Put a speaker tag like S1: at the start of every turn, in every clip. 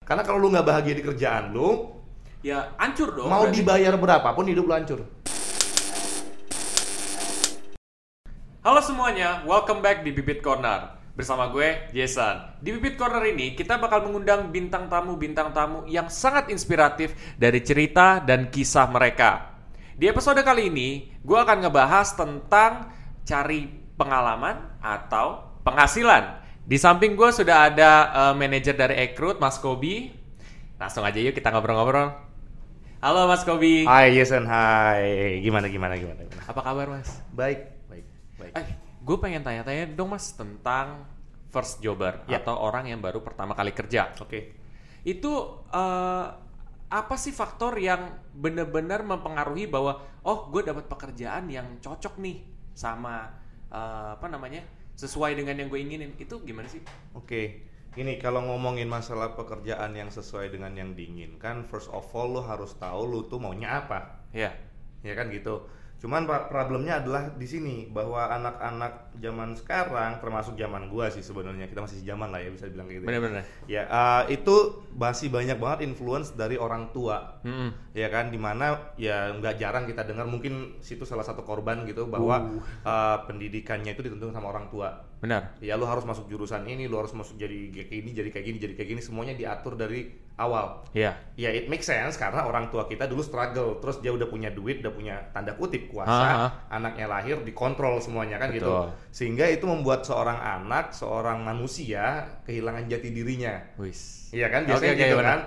S1: Karena kalau lu nggak bahagia di kerjaan lu,
S2: Ya hancur dong.
S1: mau
S2: berarti.
S1: dibayar berapapun hidup lu hancur.
S2: Halo semuanya, welcome back di Bibit Corner. Bersama gue, Jason. Di Bibit Corner ini, kita bakal mengundang bintang tamu-bintang tamu yang sangat inspiratif dari cerita dan kisah mereka. Di episode kali ini, gue akan ngebahas tentang cari pengalaman atau penghasilan. Di samping gue sudah ada eh, manajer dari Ekrut, Mas Kobi. Langsung aja yuk kita ngobrol-ngobrol. Halo Mas Kobi.
S1: Hai Yesen, hai. Gimana gimana gimana gimana.
S2: Apa kabar Mas?
S1: Baik, baik, baik.
S2: Eh, gue pengen tanya-tanya dong mas tentang first jobber
S1: Ya.
S2: atau orang yang baru pertama kali kerja.
S1: Oke.
S2: Itu eh, apa sih faktor yang benar-benar mempengaruhi bahwa oh gue dapat pekerjaan yang cocok nih sama eh, apa namanya sesuai dengan yang gue inginin itu gimana sih?
S1: Oke, gini kalau ngomongin masalah pekerjaan yang sesuai dengan yang diinginkan, first of all lu harus tahu lu tuh maunya apa,
S2: Ya,
S1: ya kan gitu. Cuman pra- problemnya adalah di sini bahwa anak-anak zaman sekarang, termasuk zaman gua sih sebenarnya kita masih zaman lah ya bisa bilang kayak gitu. ya.
S2: benar-benar.
S1: Ya eh, itu masih banyak banget influence dari orang tua
S2: Mm-mm.
S1: ya kan dimana ya nggak jarang kita dengar mungkin situ salah satu korban gitu bahwa eh, pendidikannya itu ditentukan sama orang tua
S2: Benar.
S1: ya lu harus masuk jurusan ini lu harus masuk jadi kayak gini jadi kayak gini jadi kayak gini semuanya diatur dari awal
S2: Ya.
S1: ya it makes sense karena orang tua kita dulu struggle terus dia udah punya duit udah punya tanda kutip kuasa
S2: Ah, ah.
S1: anaknya lahir dikontrol semuanya kan
S2: Betul.
S1: gitu sehingga itu membuat seorang anak seorang manusia kehilangan jati dirinya
S2: Wis.
S1: Iya kan
S2: Oke,
S1: biasanya
S2: oke,
S1: gitu
S2: benar.
S1: kan.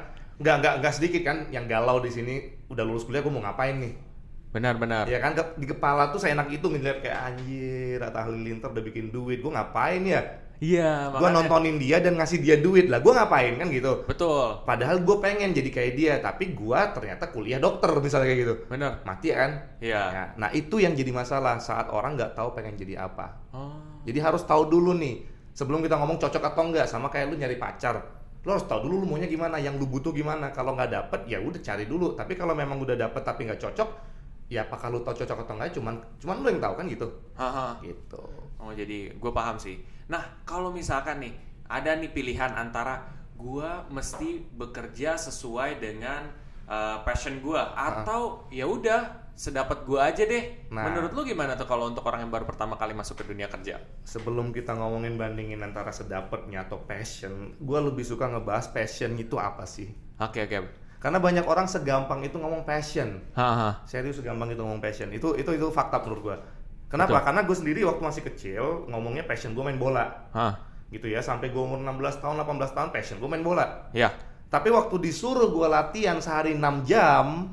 S1: Nggak, nggak, nggak sedikit kan yang galau di sini udah lulus kuliah gue mau ngapain nih
S2: Benar-benar.
S1: ya kan ke- di kepala tuh saya enak itu ngeliat kayak anjir Atta Halilintar udah bikin duit gue ngapain ya
S2: Iya.
S1: gue
S2: makanya.
S1: nontonin dia dan ngasih dia duit lah gue ngapain kan gitu
S2: Betul.
S1: padahal gue pengen jadi kayak dia tapi gue ternyata kuliah dokter misalnya kayak gitu
S2: Benar.
S1: mati ya kan
S2: Iya.
S1: Ya, nah itu yang jadi masalah saat orang nggak tahu pengen jadi apa
S2: Oh.
S1: jadi harus tahu dulu nih sebelum kita ngomong cocok atau enggak sama kayak lu nyari pacar. Lu harus tahu dulu lu maunya gimana, yang lu butuh gimana. Kalau nggak dapet ya udah cari dulu. Tapi kalau memang udah dapet tapi nggak cocok, ya apakah lu tahu cocok atau enggak cuman cuman lu yang tahu kan gitu.
S2: Haha.
S1: Gitu.
S2: Oh jadi gue paham sih. Nah kalau misalkan nih ada nih pilihan antara gue mesti bekerja sesuai dengan uh, passion gue atau ya udah sedapat gue aja deh.
S1: Nah.
S2: Menurut lu gimana tuh kalau untuk orang yang baru pertama kali masuk ke dunia kerja?
S1: Sebelum kita ngomongin bandingin antara sedapatnya atau passion, gua lebih suka ngebahas passion itu apa sih?
S2: Oke oke.
S1: Karena banyak orang segampang itu ngomong passion.
S2: Haha.
S1: serius gampang itu ngomong passion itu itu itu fakta menurut gua kenapa
S2: Betul.
S1: karena gue sendiri waktu masih kecil ngomongnya passion gue main bola
S2: Hah.
S1: gitu ya sampai gue umur 16 tahun 18 tahun passion gue main bola
S2: Ya.
S1: tapi waktu disuruh gua latihan sehari 6 jam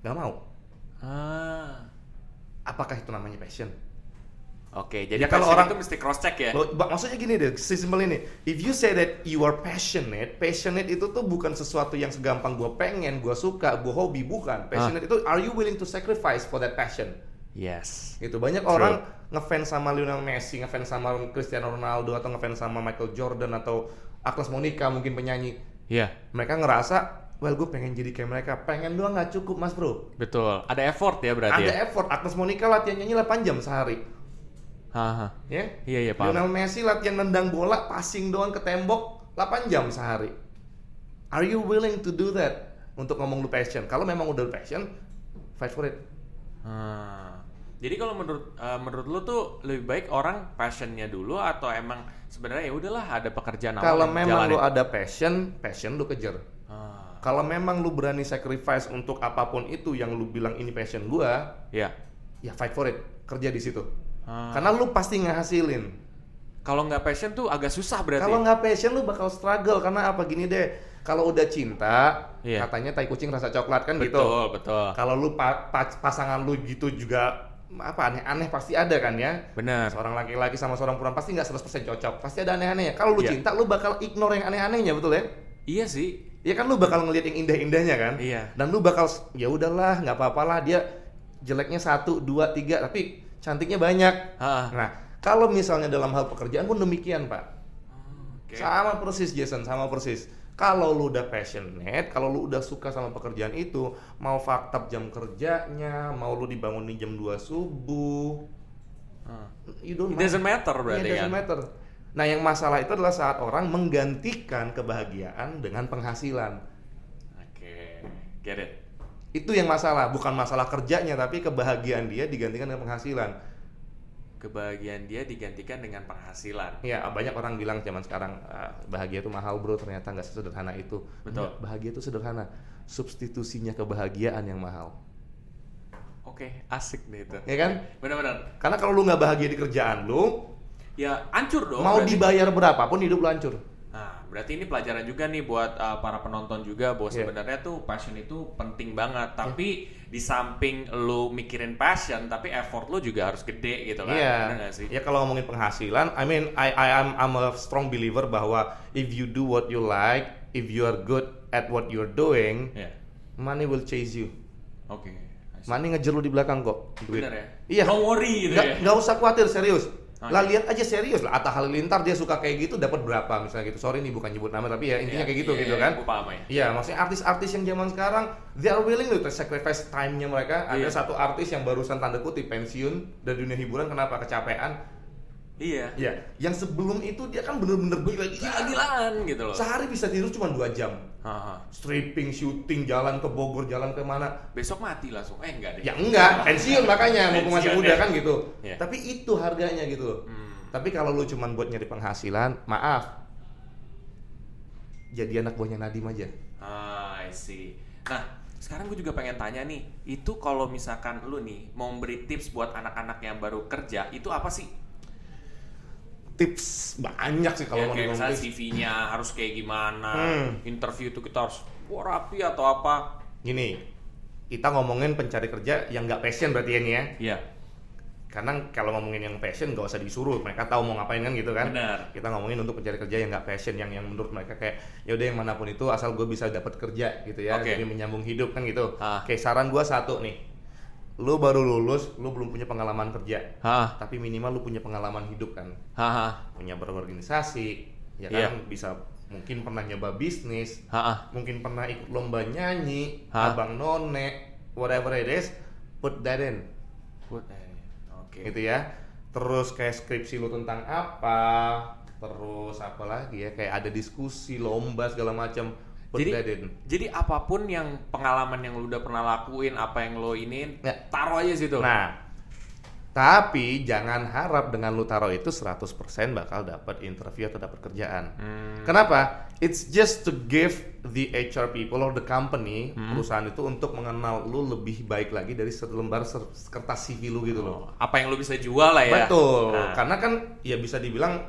S1: nggak mau
S2: Ah.
S1: apakah itu namanya passion
S2: Oke.
S1: Ya,
S2: Jadi
S1: kalau
S2: passion
S1: orang-
S2: itu kan mesti cross check ya.
S1: Lo- ba- maksudnya gini deh sesimpel ini if you say that you are passionate passionate itu tuh bukan sesuatu yang segampang gua pengen gua suka gua hobi bukan passionate itu are you willing to sacrifice for that passion
S2: Yes.
S1: gitu banyak orang ngefans sama Lionel Messi ngefans sama Cristiano Ronaldo atau ngefans sama Michael Jordan atau Agnes Monica mungkin penyanyi
S2: Ya.
S1: mereka ngerasa well gue pengen jadi kayak mereka pengen doang nggak cukup mas bro
S2: Betul. Ada effort ya berarti.
S1: ada
S2: ya?
S1: effort Agnes Monica latihan nyanyi 8 jam sehari
S2: Haha.
S1: ya
S2: Iya iya paham.
S1: Lionel Messi latihan nendang bola passing doang ke tembok 8 jam sehari are you willing to do that untuk ngomong lu passion kalau memang udah lu passion fight for it
S2: Hmm. Jadi kalau menurut eh, menurut lu tuh lebih baik orang passionnya dulu atau emang sebenarnya ya udahlah ada pekerjaan awal
S1: kalau
S2: yang
S1: memang lu
S2: dijalanin?
S1: ada passion passion lu kejar
S2: Ah,
S1: Kalau memang lu berani sacrifice untuk apapun itu yang lu bilang ini passion gua,
S2: ya.
S1: ya fight for it, kerja di situ.
S2: Ah.
S1: Karena lu pasti ngehasilin.
S2: Kalau nggak passion tuh agak susah berarti.
S1: Kalau nggak passion lu bakal struggle karena apa gini deh. Kalau udah cinta,
S2: Iya.
S1: katanya tai kucing rasa coklat kan gitu.
S2: betul betul.
S1: Kalau lu pa- pa- pasangan lu gitu juga apa aneh-aneh pasti ada kan ya.
S2: Benar.
S1: Seorang laki-laki sama seorang perempuan pasti nggak 100% cocok. Pasti ada aneh-anehnya. Kalau lu
S2: Iya.
S1: cinta lu bakal ignore yang aneh-anehnya betul ya?
S2: Iya sih.
S1: Ya kan lu bakal ngelihat yang indah-indahnya kan?
S2: Iya.
S1: Dan lu bakal ya udahlah, nggak apa-apalah dia jeleknya satu, dua, tiga, tapi cantiknya banyak.
S2: Ah,
S1: Nah, kalau misalnya dalam hal pekerjaan pun demikian pak,
S2: oke.
S1: sama persis Jason, sama persis. Kalau lu udah passionate, kalau lu udah suka sama pekerjaan itu, mau faktab jam kerjanya, mau lu dibangunin jam 2 subuh,
S2: Ah.
S1: you don't
S2: Hmm. It doesn't matter
S1: Yeah,
S2: berarti
S1: Iya, doesn't
S2: kan.
S1: matter. Nah, yang masalah itu adalah saat orang menggantikan kebahagiaan dengan penghasilan.
S2: Oke, get it.
S1: Itu yang masalah, bukan masalah kerjanya, tapi kebahagiaan dia digantikan dengan penghasilan.
S2: Kebahagiaan dia digantikan dengan penghasilan.
S1: Ya, banyak orang bilang zaman sekarang "Ah, bahagia itu mahal, Bro. Ternyata nggak sesederhana itu.
S2: Betul.
S1: Nggak, bahagia itu sederhana. Substitusinya kebahagiaan yang mahal.
S2: Oke, asik deh itu.
S1: Ya kan?
S2: Benar-benar.
S1: Karena kalau lu nggak bahagia di kerjaan lu,
S2: Ya, hancur dong.
S1: mau
S2: berarti.
S1: dibayar berapapun hidup lu hancur.
S2: Nah, berarti ini pelajaran juga nih buat uh, para penonton juga bahwa
S1: Iya.
S2: sebenarnya tuh passion itu penting banget. Tapi di samping lu mikirin passion, tapi effort lu juga harus gede gitu kan. Bener
S1: Iya.
S2: nggak sih?
S1: Ya kalau ngomongin penghasilan, I mean I I am I'm a strong believer bahwa if you do what you like, if you are good at what you're doing,
S2: Iya.
S1: money will chase you.
S2: Oke. I see.
S1: Money ngejer lu di belakang kok. Duit.
S2: Bener ya?
S1: Iya.
S2: Don't worry gitu
S1: Nggak,
S2: ya.
S1: nggak usah khawatir serius.
S2: Oke.
S1: Lah lihat aja serius lah Atta Halilintar dia suka kayak gitu dapat berapa misalnya gitu. Sorry nih bukan nyebut nama tapi ya intinya
S2: Iya,
S1: kayak gitu
S2: iya,
S1: gitu
S2: iya,
S1: kan.
S2: Gue paham ya.
S1: Iya, maksudnya artis-artis yang zaman sekarang they are willing to sacrifice time-nya mereka. Ada
S2: Iya.
S1: satu artis yang barusan tanda kutip pensiun dari dunia hiburan kenapa kecapean?
S2: Iya.
S1: Iya, yang sebelum itu dia kan bener-bener gila-gila.
S2: Gila-gilaan gitu loh.
S1: Sehari bisa tidur cuma dua jam.
S2: Haha.
S1: Stripping, syuting, jalan ke Bogor, jalan ke mana?
S2: Besok mati langsung. Eh enggak deh.
S1: Ya enggak, pensiun makanya mumpung masih
S2: Pensiun
S1: muda
S2: ya.
S1: kan gitu.
S2: Iya.
S1: Tapi itu harganya gitu loh.
S2: Hmm.
S1: Tapi kalau lu cuma buat nyari penghasilan, maaf. Jadi anak buahnya Nadim aja.
S2: Ah, I see. Nah, sekarang gue juga pengen tanya nih, itu kalau misalkan lu nih mau memberi tips buat anak-anak yang baru kerja, itu apa sih?
S1: Tips banyak sih kalau
S2: ya,
S1: mau
S2: kayak
S1: ngomong
S2: misalnya
S1: tips.
S2: CV-nya harus kayak gimana,
S1: Hmm.
S2: interview itu kita harus wah, rapi atau apa?
S1: Gini, kita ngomongin pencari kerja yang nggak passion berarti ya nih ya.
S2: Iya.
S1: karena kalau ngomongin yang passion gak usah disuruh mereka tahu mau ngapain kan gitu kan
S2: Benar.
S1: kita ngomongin untuk pencari kerja yang nggak passion yang yang menurut mereka kayak ya udah yang manapun itu asal gue bisa dapat kerja gitu ya
S2: Oke.
S1: jadi menyambung hidup kan gitu
S2: Ah.
S1: oke saran gue satu nih lu baru lulus lu belum punya pengalaman kerja
S2: Hah,
S1: tapi minimal lu punya pengalaman hidup kan
S2: hah,
S1: punya berorganisasi ya kan
S2: Iya.
S1: bisa mungkin pernah nyoba bisnis
S2: hah.
S1: mungkin pernah ikut lomba nyanyi
S2: Hah?
S1: abang none whatever it is put that in
S2: Oke.
S1: gitu ya terus kayak skripsi lu tentang apa terus apa lagi ya kayak ada diskusi lomba segala macam Put
S2: Jadi-
S1: that in.
S2: Jadi apapun yang pengalaman yang lu udah pernah lakuin, apa yang lo iniin,
S1: Ya.
S2: taruh aja situ.
S1: nah tapi jangan harap dengan lu taruh itu 100% bakal dapat interview atau dapat kerjaan
S2: Hmm,
S1: Kenapa? It's just to give the HR people or the company
S2: Hmm.
S1: perusahaan itu untuk mengenal lu lebih baik lagi dari selembar ser- kertas CV lu gitu loh.
S2: apa yang lo bisa jual lah ya.
S1: Betul,
S2: Oh, Nah.
S1: karena kan ya bisa dibilang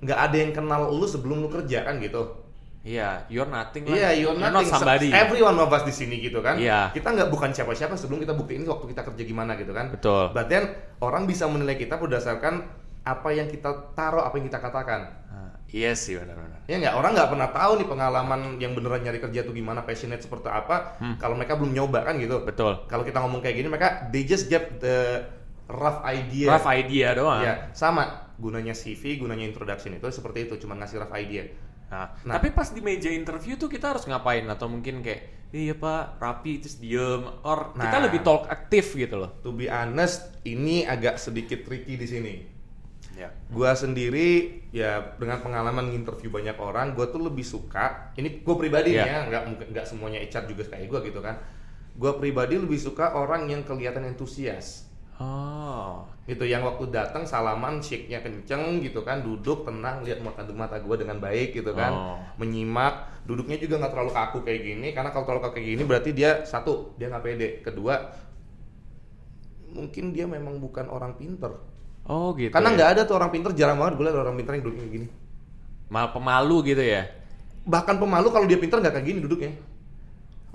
S1: nggak ada yang kenal lu sebelum lu kerja kan gitu.
S2: Iya, you're nothing lah.
S1: Iya, you're nothing.
S2: somebody.
S1: Everyone of us di sini gitu kan.
S2: Iya.
S1: Kita nggak bukan siapa-siapa sebelum kita buktiin waktu kita kerja gimana gitu kan.
S2: Betul.
S1: But then, orang bisa menilai kita berdasarkan apa yang kita taruh, apa yang kita katakan.
S2: Ah, Iya sih benar-benar.
S1: Ya nggak, orang nggak pernah tahu nih pengalaman yang beneran nyari kerja tuh gimana, passionate seperti apa.
S2: Hmm.
S1: Kalau mereka belum nyoba kan gitu.
S2: Betul.
S1: Kalau kita ngomong kayak gini, mereka they just get the rough idea.
S2: Rough idea doang.
S1: Ya, sama gunanya CV, gunanya introduction itu seperti itu, cuma ngasih rough idea.
S2: Nah,
S1: Nah.
S2: tapi pas di meja interview tuh kita harus ngapain atau mungkin kayak iya pak rapi terus diem or kita
S1: Nah.
S2: lebih talk aktif gitu loh.
S1: To be honest, ini agak sedikit tricky di sini.
S2: Ya.
S1: Gua sendiri ya dengan pengalaman interview banyak orang, gua tuh lebih suka. Ini gue pribadi nih
S2: Iya.
S1: ya, nggak mungkin nggak semuanya HR juga kayak gua gitu kan. Gua pribadi lebih suka orang yang kelihatan entusias.
S2: Oh.
S1: gitu yang waktu datang salaman shake-nya kenceng gitu kan duduk tenang lihat mata mata gue dengan baik gitu kan
S2: Oh.
S1: menyimak duduknya juga nggak terlalu kaku kayak gini karena kalau terlalu kaku kayak gini berarti dia satu dia nggak pede kedua mungkin dia memang bukan orang pinter
S2: Oh gitu.
S1: karena
S2: ya.
S1: nggak ada tuh orang pinter jarang banget gue liat ada orang pinter yang duduknya kayak gini
S2: Mal pemalu gitu ya.
S1: bahkan pemalu kalau dia pinter nggak kayak gini duduknya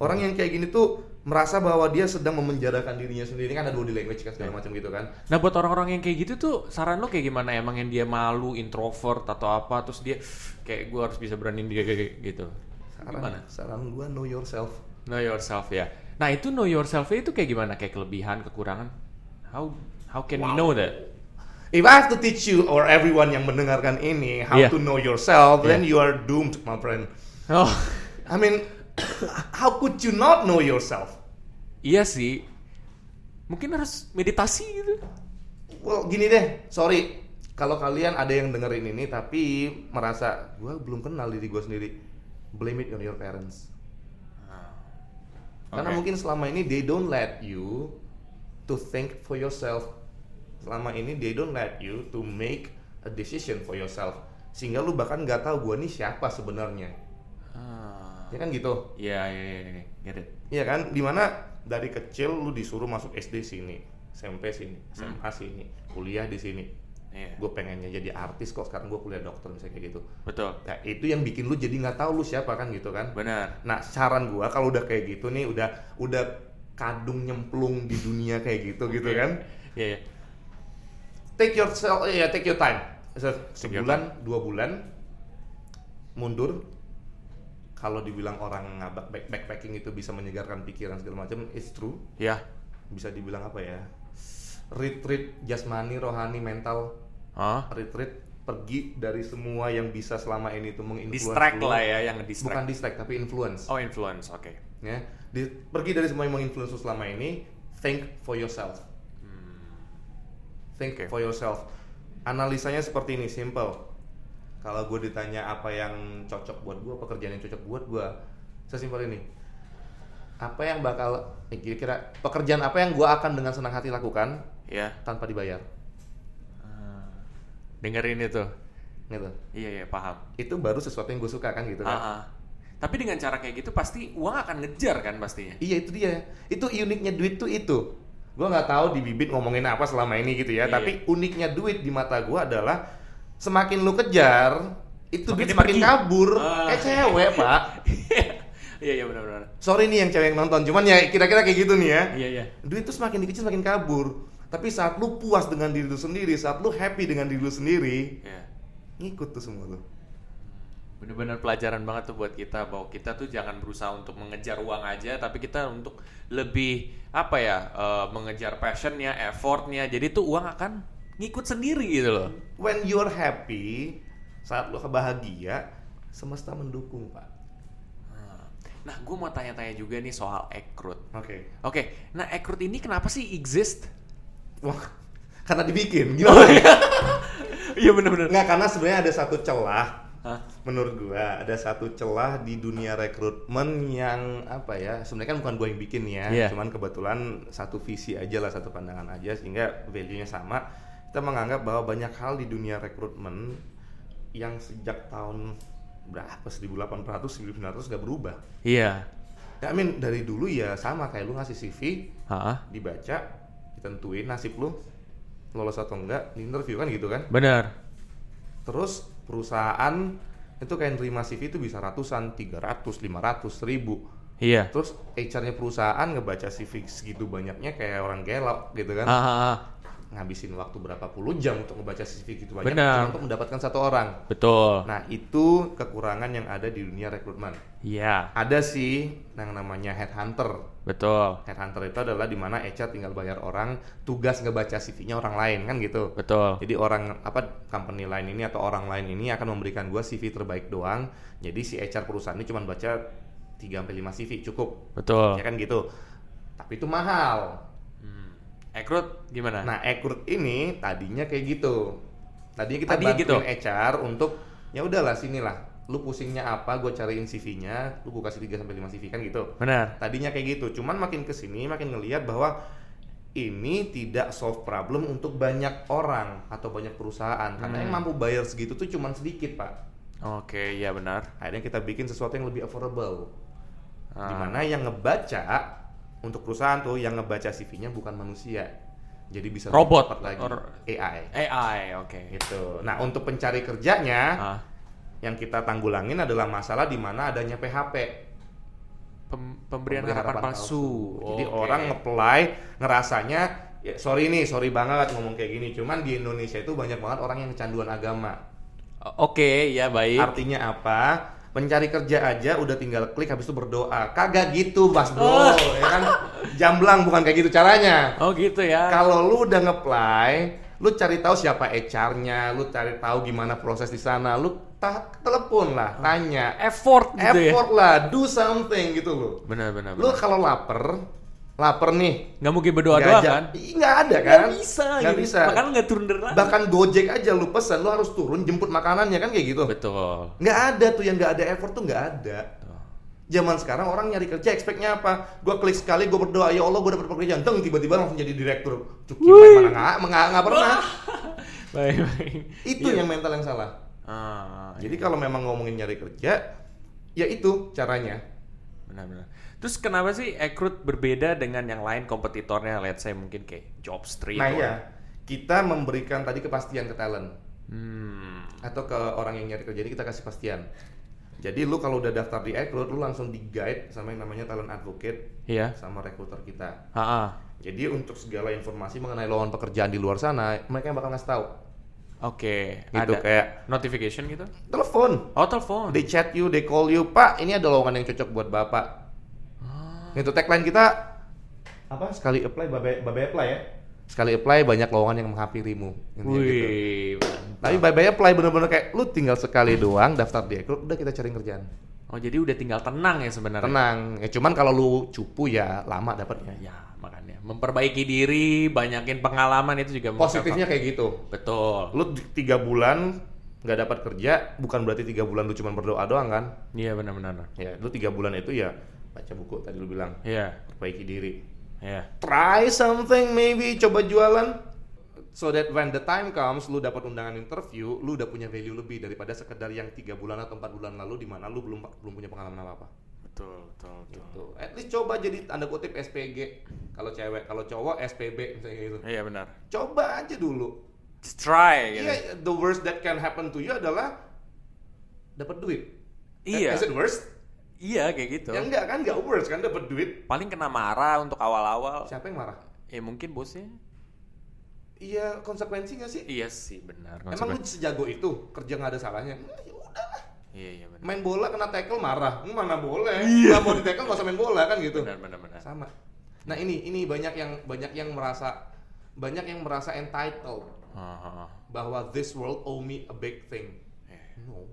S1: orang yang kayak gini tuh merasa bahwa dia sedang memenjarakan dirinya sendiri kan ada body language kan segala macam gitu kan
S2: Nah buat orang-orang yang kayak gitu tuh saran lo kayak gimana emang yang dia malu introvert atau apa terus dia kayak gue harus bisa beraniin dia gitu.
S1: saran
S2: Gimana?
S1: saran gue know yourself
S2: Know yourself ya. Nah itu know yourself itu kayak gimana? Kayak kelebihan, kekurangan? How how can we know that?
S1: If I have to teach you or everyone yang mendengarkan ini how
S2: Yeah.
S1: to know yourself,
S2: Yeah.
S1: then you are doomed, my friend.
S2: Oh
S1: I mean, how could you not know yourself?
S2: iya sih. Mungkin harus meditasi gitu.
S1: Well, gini deh, sorry. kalau kalian ada yang dengerin ini tapi merasa gua belum kenal diri gua sendiri, blame it on your parents. Karena
S2: Oke.
S1: mungkin selama ini they don't let you to think for yourself. Selama ini they don't let you to make a decision for yourself. Sehingga lu bahkan nggak tahu gua nih siapa sebenarnya.
S2: Ah.
S1: Ya kan gitu.
S2: Iya, iya, iya, iya, get it.
S1: Iya kan? Dimana dari kecil lu disuruh masuk SD sini, SMP sini, SMA sini, kuliah di sini.
S2: Iya.
S1: Gue pengennya jadi artis kok sekarang gue kuliah dokter misalnya kayak gitu.
S2: Betul.
S1: Nah itu yang bikin lu jadi nggak tahu lu siapa kan gitu kan?
S2: Benar.
S1: Nah saran gua kalau udah kayak gitu nih udah udah kadung nyemplung di dunia kayak gitu gitu kan?
S2: Iya, iya.
S1: Take yourself, ya take your time. Se-
S2: Take your
S1: Sebulan, dua bulan, mundur. Kalau dibilang orang ngabak back- backpacking itu bisa menyegarkan pikiran segala macam, it's true.
S2: Iya.
S1: bisa dibilang apa ya retreat jasmani rohani mental
S2: Hah?
S1: retreat pergi dari semua yang bisa selama ini itu menginfluence
S2: Distract
S1: lu.
S2: lah ya yang distract.
S1: bukan distract tapi influence
S2: Oh, influence. Oke.
S1: ya Di- pergi dari semua yang menginfluence lu selama ini think for yourself think
S2: Oke.
S1: for yourself analisanya seperti ini simple kalau gue ditanya apa yang cocok buat gue pekerjaan yang cocok buat gue sesimpel ini apa yang bakal eh, kira-kira pekerjaan apa yang gue akan dengan senang hati lakukan
S2: Iya.
S1: tanpa dibayar
S2: Dengerin itu.
S1: gitu
S2: Iya, iya, paham.
S1: itu baru sesuatu yang gue suka kan gitu kan
S2: Ah, ah. Tapi dengan cara kayak gitu pasti uang akan ngejar kan pastinya.
S1: iya itu dia itu uniknya duit tuh itu gue nggak tahu di bibit ngomongin apa selama ini gitu ya
S2: Iya.
S1: tapi uniknya duit di mata gue adalah semakin lu kejar itu
S2: Makin
S1: duit
S2: dia
S1: semakin
S2: pergi.
S1: kabur
S2: Ah.
S1: kayak cewek pak
S2: Iya, iya benar-benar.
S1: sorry nih yang cewek yang nonton cuman ya kira-kira kayak gitu nih ya
S2: Iya, iya.
S1: duit tuh semakin dikecil semakin kabur tapi saat lu puas dengan diri lu sendiri saat lu happy dengan diri lu sendiri
S2: Iya.
S1: ngikut tuh semua lu
S2: Bener-bener pelajaran banget tuh buat kita bahwa kita tuh jangan berusaha untuk mengejar uang aja, tapi kita untuk lebih apa ya eh, mengejar passionnya, effortnya. Jadi tuh uang akan ngikut sendiri gitu loh.
S1: when you're happy saat lu kebahagia semesta mendukung pak
S2: Nah, gue mau tanya-tanya juga nih soal ekrut.
S1: oke
S2: Oke, nah ekrut ini kenapa sih exist?
S1: wah karena dibikin
S2: Oh,
S1: gimana
S2: Iya bener-bener.
S1: nggak karena sebenarnya ada satu celah
S2: Hah?
S1: menurut gua ada satu celah di dunia rekrutmen yang apa ya sebenarnya kan bukan gua yang bikin ya
S2: Iya.
S1: cuman kebetulan satu visi aja lah satu pandangan aja sehingga value nya sama kita menganggap bahwa banyak hal di dunia rekrutmen yang sejak tahun berapa 1800 1900 nggak berubah
S2: Iya.
S1: Ya, I mean dari dulu ya sama kayak lu ngasih CV,
S2: Hah?
S1: dibaca, ditentuin nasib lu lolos atau enggak, di interview kan gitu kan.
S2: Bener.
S1: Terus perusahaan itu kayak nerima CV itu bisa ratusan, 300, 500, 1000.
S2: Iya.
S1: Terus HR-nya perusahaan ngebaca CV segitu banyaknya kayak orang gelap gitu kan.
S2: Ah, ah, ah.
S1: Ngabisin waktu berapa puluh jam untuk ngebaca CV gitu banyak
S2: Benar. Oh.
S1: cuma untuk mendapatkan satu orang.
S2: Betul.
S1: Nah, itu kekurangan yang ada di dunia rekrutmen.
S2: Iya.
S1: Ada sih yang namanya headhunter.
S2: Betul.
S1: Headhunter itu adalah dimana HR tinggal bayar orang tugas ngebaca CV-nya orang lain kan gitu.
S2: Betul.
S1: Jadi orang apa company lain ini atau orang lain ini akan memberikan gua CV terbaik doang. Jadi si HR perusahaan ini cuma baca 3 sampai 5 CV cukup.
S2: Betul.
S1: Ya kan gitu. Tapi itu mahal.
S2: Ekrut gimana?
S1: Nah, Ekrut ini tadinya kayak gitu. Tadinya kita
S2: Tadinya
S1: bantuin HR untuk ya udahlah sinilah. Lu pusingnya apa, gue cariin CV-nya, lu gua kasih 3 sampai 5 CV kan gitu.
S2: Benar.
S1: tadinya kayak gitu cuman makin kesini makin ngelihat bahwa ini tidak solve problem untuk banyak orang atau banyak perusahaan karena yang
S2: Hmm.
S1: mampu bayar segitu tuh cuman sedikit pak
S2: Oke, iya benar.
S1: akhirnya kita bikin sesuatu yang lebih affordable
S2: Ah.
S1: dimana yang ngebaca untuk perusahaan tuh yang ngebaca CV-nya bukan manusia jadi bisa lebih
S2: Robot
S1: cepat lagi
S2: or-
S1: AI
S2: AI, Eh, ah, oke.
S1: gitu nah untuk pencari kerjanya
S2: Ah.
S1: yang kita tanggulangin adalah masalah di mana adanya PHP
S2: Pem- pemberian, harapan, palsu.
S1: Jadi
S2: Oke.
S1: orang ngeplay ngerasanya ya, sorry nih, sorry banget ngomong kayak gini. Cuman di Indonesia itu banyak banget orang yang kecanduan agama.
S2: Oke, ya baik.
S1: Artinya apa? Pencari kerja aja udah tinggal klik habis itu berdoa. Kagak gitu, Mas Bro. Ya kan jamblang bukan kayak gitu caranya.
S2: Oh gitu ya.
S1: Kalau lu udah ngeplay, lu cari tahu siapa HR-nya, lu cari tahu gimana proses di sana, lu ta- telepon lah, tanya.
S2: Effort gitu ya.
S1: Effort lah, do something gitu loh.
S2: Benar, benar,
S1: Lu
S2: benar.
S1: kalau lapar, lapar nih
S2: Nggak mungkin berdoa
S1: nggak
S2: doa
S1: aja-
S2: kan?
S1: Ih, nggak ada kan
S2: Nggak bisa.
S1: nggak
S2: gitu.
S1: bisa
S2: Makanya nggak turun derajat.
S1: bahkan gojek aja lu pesan lu harus turun jemput makanannya kan kayak gitu
S2: Betul.
S1: nggak ada tuh yang nggak ada effort tuh nggak ada
S2: Betul.
S1: zaman sekarang orang nyari kerja expectnya apa gua klik sekali gua berdoa ya Allah gua dapat pekerjaan teng tiba-tiba langsung jadi direktur cuki mana nggak nggak nggak pernah
S2: Baik baik.
S1: itu
S2: Iya.
S1: yang mental yang salah
S2: Ah,
S1: Jadi kalau memang ngomongin nyari kerja, ya itu caranya.
S2: benar-benar. Terus kenapa sih Ekrut berbeda dengan yang lain kompetitornya? Let's say mungkin kayak Jobstreet.
S1: Nah
S2: or-
S1: ya, kita memberikan tadi kepastian ke talent
S2: Hmm.
S1: atau ke orang yang nyari kerja ini kita kasih pastian. Jadi lu kalau udah daftar di Ekrut, lu langsung di guide sama yang namanya talent advocate
S2: Iya.
S1: sama rekruter kita.
S2: Ah, ah.
S1: Jadi untuk segala informasi mengenai lowongan pekerjaan di luar sana, mereka yang bakal ngasih tahu.
S2: Oke.
S1: Gitu
S2: Ada
S1: kayak
S2: notification gitu?
S1: telepon,
S2: Oh telepon.
S1: they chat you, they call you, Pak, ini ada lowongan yang cocok buat Bapak.
S2: Ah,
S1: Itu tagline kita apa? Sekali apply babe, babe apply ya. Sekali apply banyak lowongan yang menghampirimu. Intinya gitu.
S2: Wih.
S1: Tapi babe apply bener-bener kayak lu tinggal sekali doang daftar di Ekrut, udah kita cari kerjaan.
S2: Oh jadi udah tinggal tenang ya sebenarnya.
S1: Tenang. Ya cuman kalau lu cupu ya lama dapatnya.
S2: Ya makanya memperbaiki diri, banyakin pengalaman itu juga memperbaiki-
S1: Positifnya kayak gitu.
S2: Betul.
S1: Lu di- tiga bulan nggak dapat kerja, bukan berarti tiga bulan lu cuman berdoa doang kan?
S2: Iya benar-benar.
S1: Ya, lu tiga bulan itu ya baca buku tadi lu bilang,
S2: Iya.
S1: perbaiki diri.
S2: Iya.
S1: try something maybe coba jualan so that when the time comes lu dapat undangan interview lu udah punya value lebih daripada sekedar yang tiga bulan atau empat bulan lalu di mana lu belum belum punya pengalaman apa apa
S2: Betul, betul, betul.
S1: gitu at least coba jadi tanda kutip SPG kalau cewek kalau cowok SPB misalnya gitu
S2: Iya benar.
S1: coba aja dulu
S2: Just try gitu.
S1: iya the worst that can happen to you adalah dapat duit Eh,
S2: Iya.
S1: is it worst
S2: Iya kayak gitu.
S1: ya enggak kan enggak worst kan dapat duit
S2: Paling kena marah untuk awal-awal.
S1: siapa yang marah
S2: Ya mungkin bosnya.
S1: iya konsekuensinya sih
S2: Iya sih benar.
S1: Emang lu sejago itu kerja nggak ada salahnya? Hmm, ya udahlah.
S2: Iya iya benar.
S1: Main bola kena tackle marah, Hmm, mana boleh? Nggak mau di tackle nggak usah main bola kan gitu.
S2: Iya. Benar benar benar.
S1: Sama. Nah ini ini banyak yang banyak yang merasa banyak yang merasa entitled
S2: Ah, ah, ah.
S1: bahwa this world owe me a big thing.
S2: Eh,
S1: No,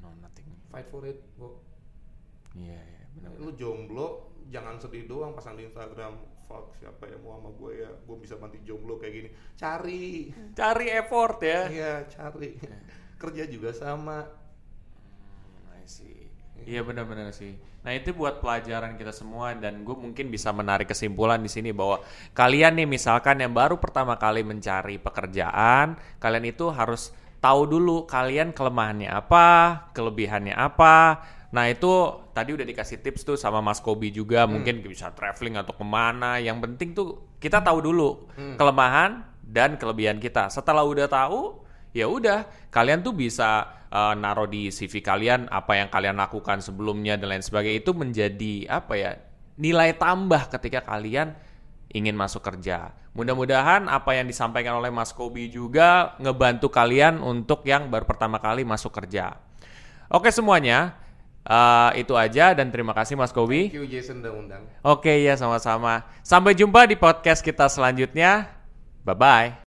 S2: No nothing.
S1: fight for it. Bo.
S2: Iya iya benar.
S1: Lu jomblo, jangan sedih doang pasang di Instagram. Fuck siapa yang mau sama gue ya? Gue bisa mati jomblo kayak gini. Cari,
S2: Cari effort ya.
S1: iya cari.
S2: Eh.
S1: Kerja juga sama.
S2: Hmm, I see. Iya benar-benar sih. Nah itu buat pelajaran kita semua dan gue mungkin bisa menarik kesimpulan di sini bahwa kalian nih misalkan yang baru pertama kali mencari pekerjaan, kalian itu harus tahu dulu kalian kelemahannya apa, kelebihannya apa. Nah itu tadi udah dikasih tips tuh sama Mas Kobi juga mungkin bisa traveling atau kemana. Yang penting tuh kita tahu dulu kelemahan dan kelebihan kita. Setelah udah tahu, ya udah kalian tuh bisa eh, naruh di CV kalian apa yang kalian lakukan sebelumnya dan lain sebagainya itu menjadi apa ya nilai tambah ketika kalian ingin masuk kerja. Mudah-mudahan apa yang disampaikan oleh Mas Kobi juga ngebantu kalian untuk yang baru pertama kali masuk kerja. Oke semuanya, eh, itu aja dan terima kasih Mas Kobi.
S1: Thank you Jason udah undang.
S2: Oke ya sama-sama. Sampai jumpa di podcast kita selanjutnya. Bye bye.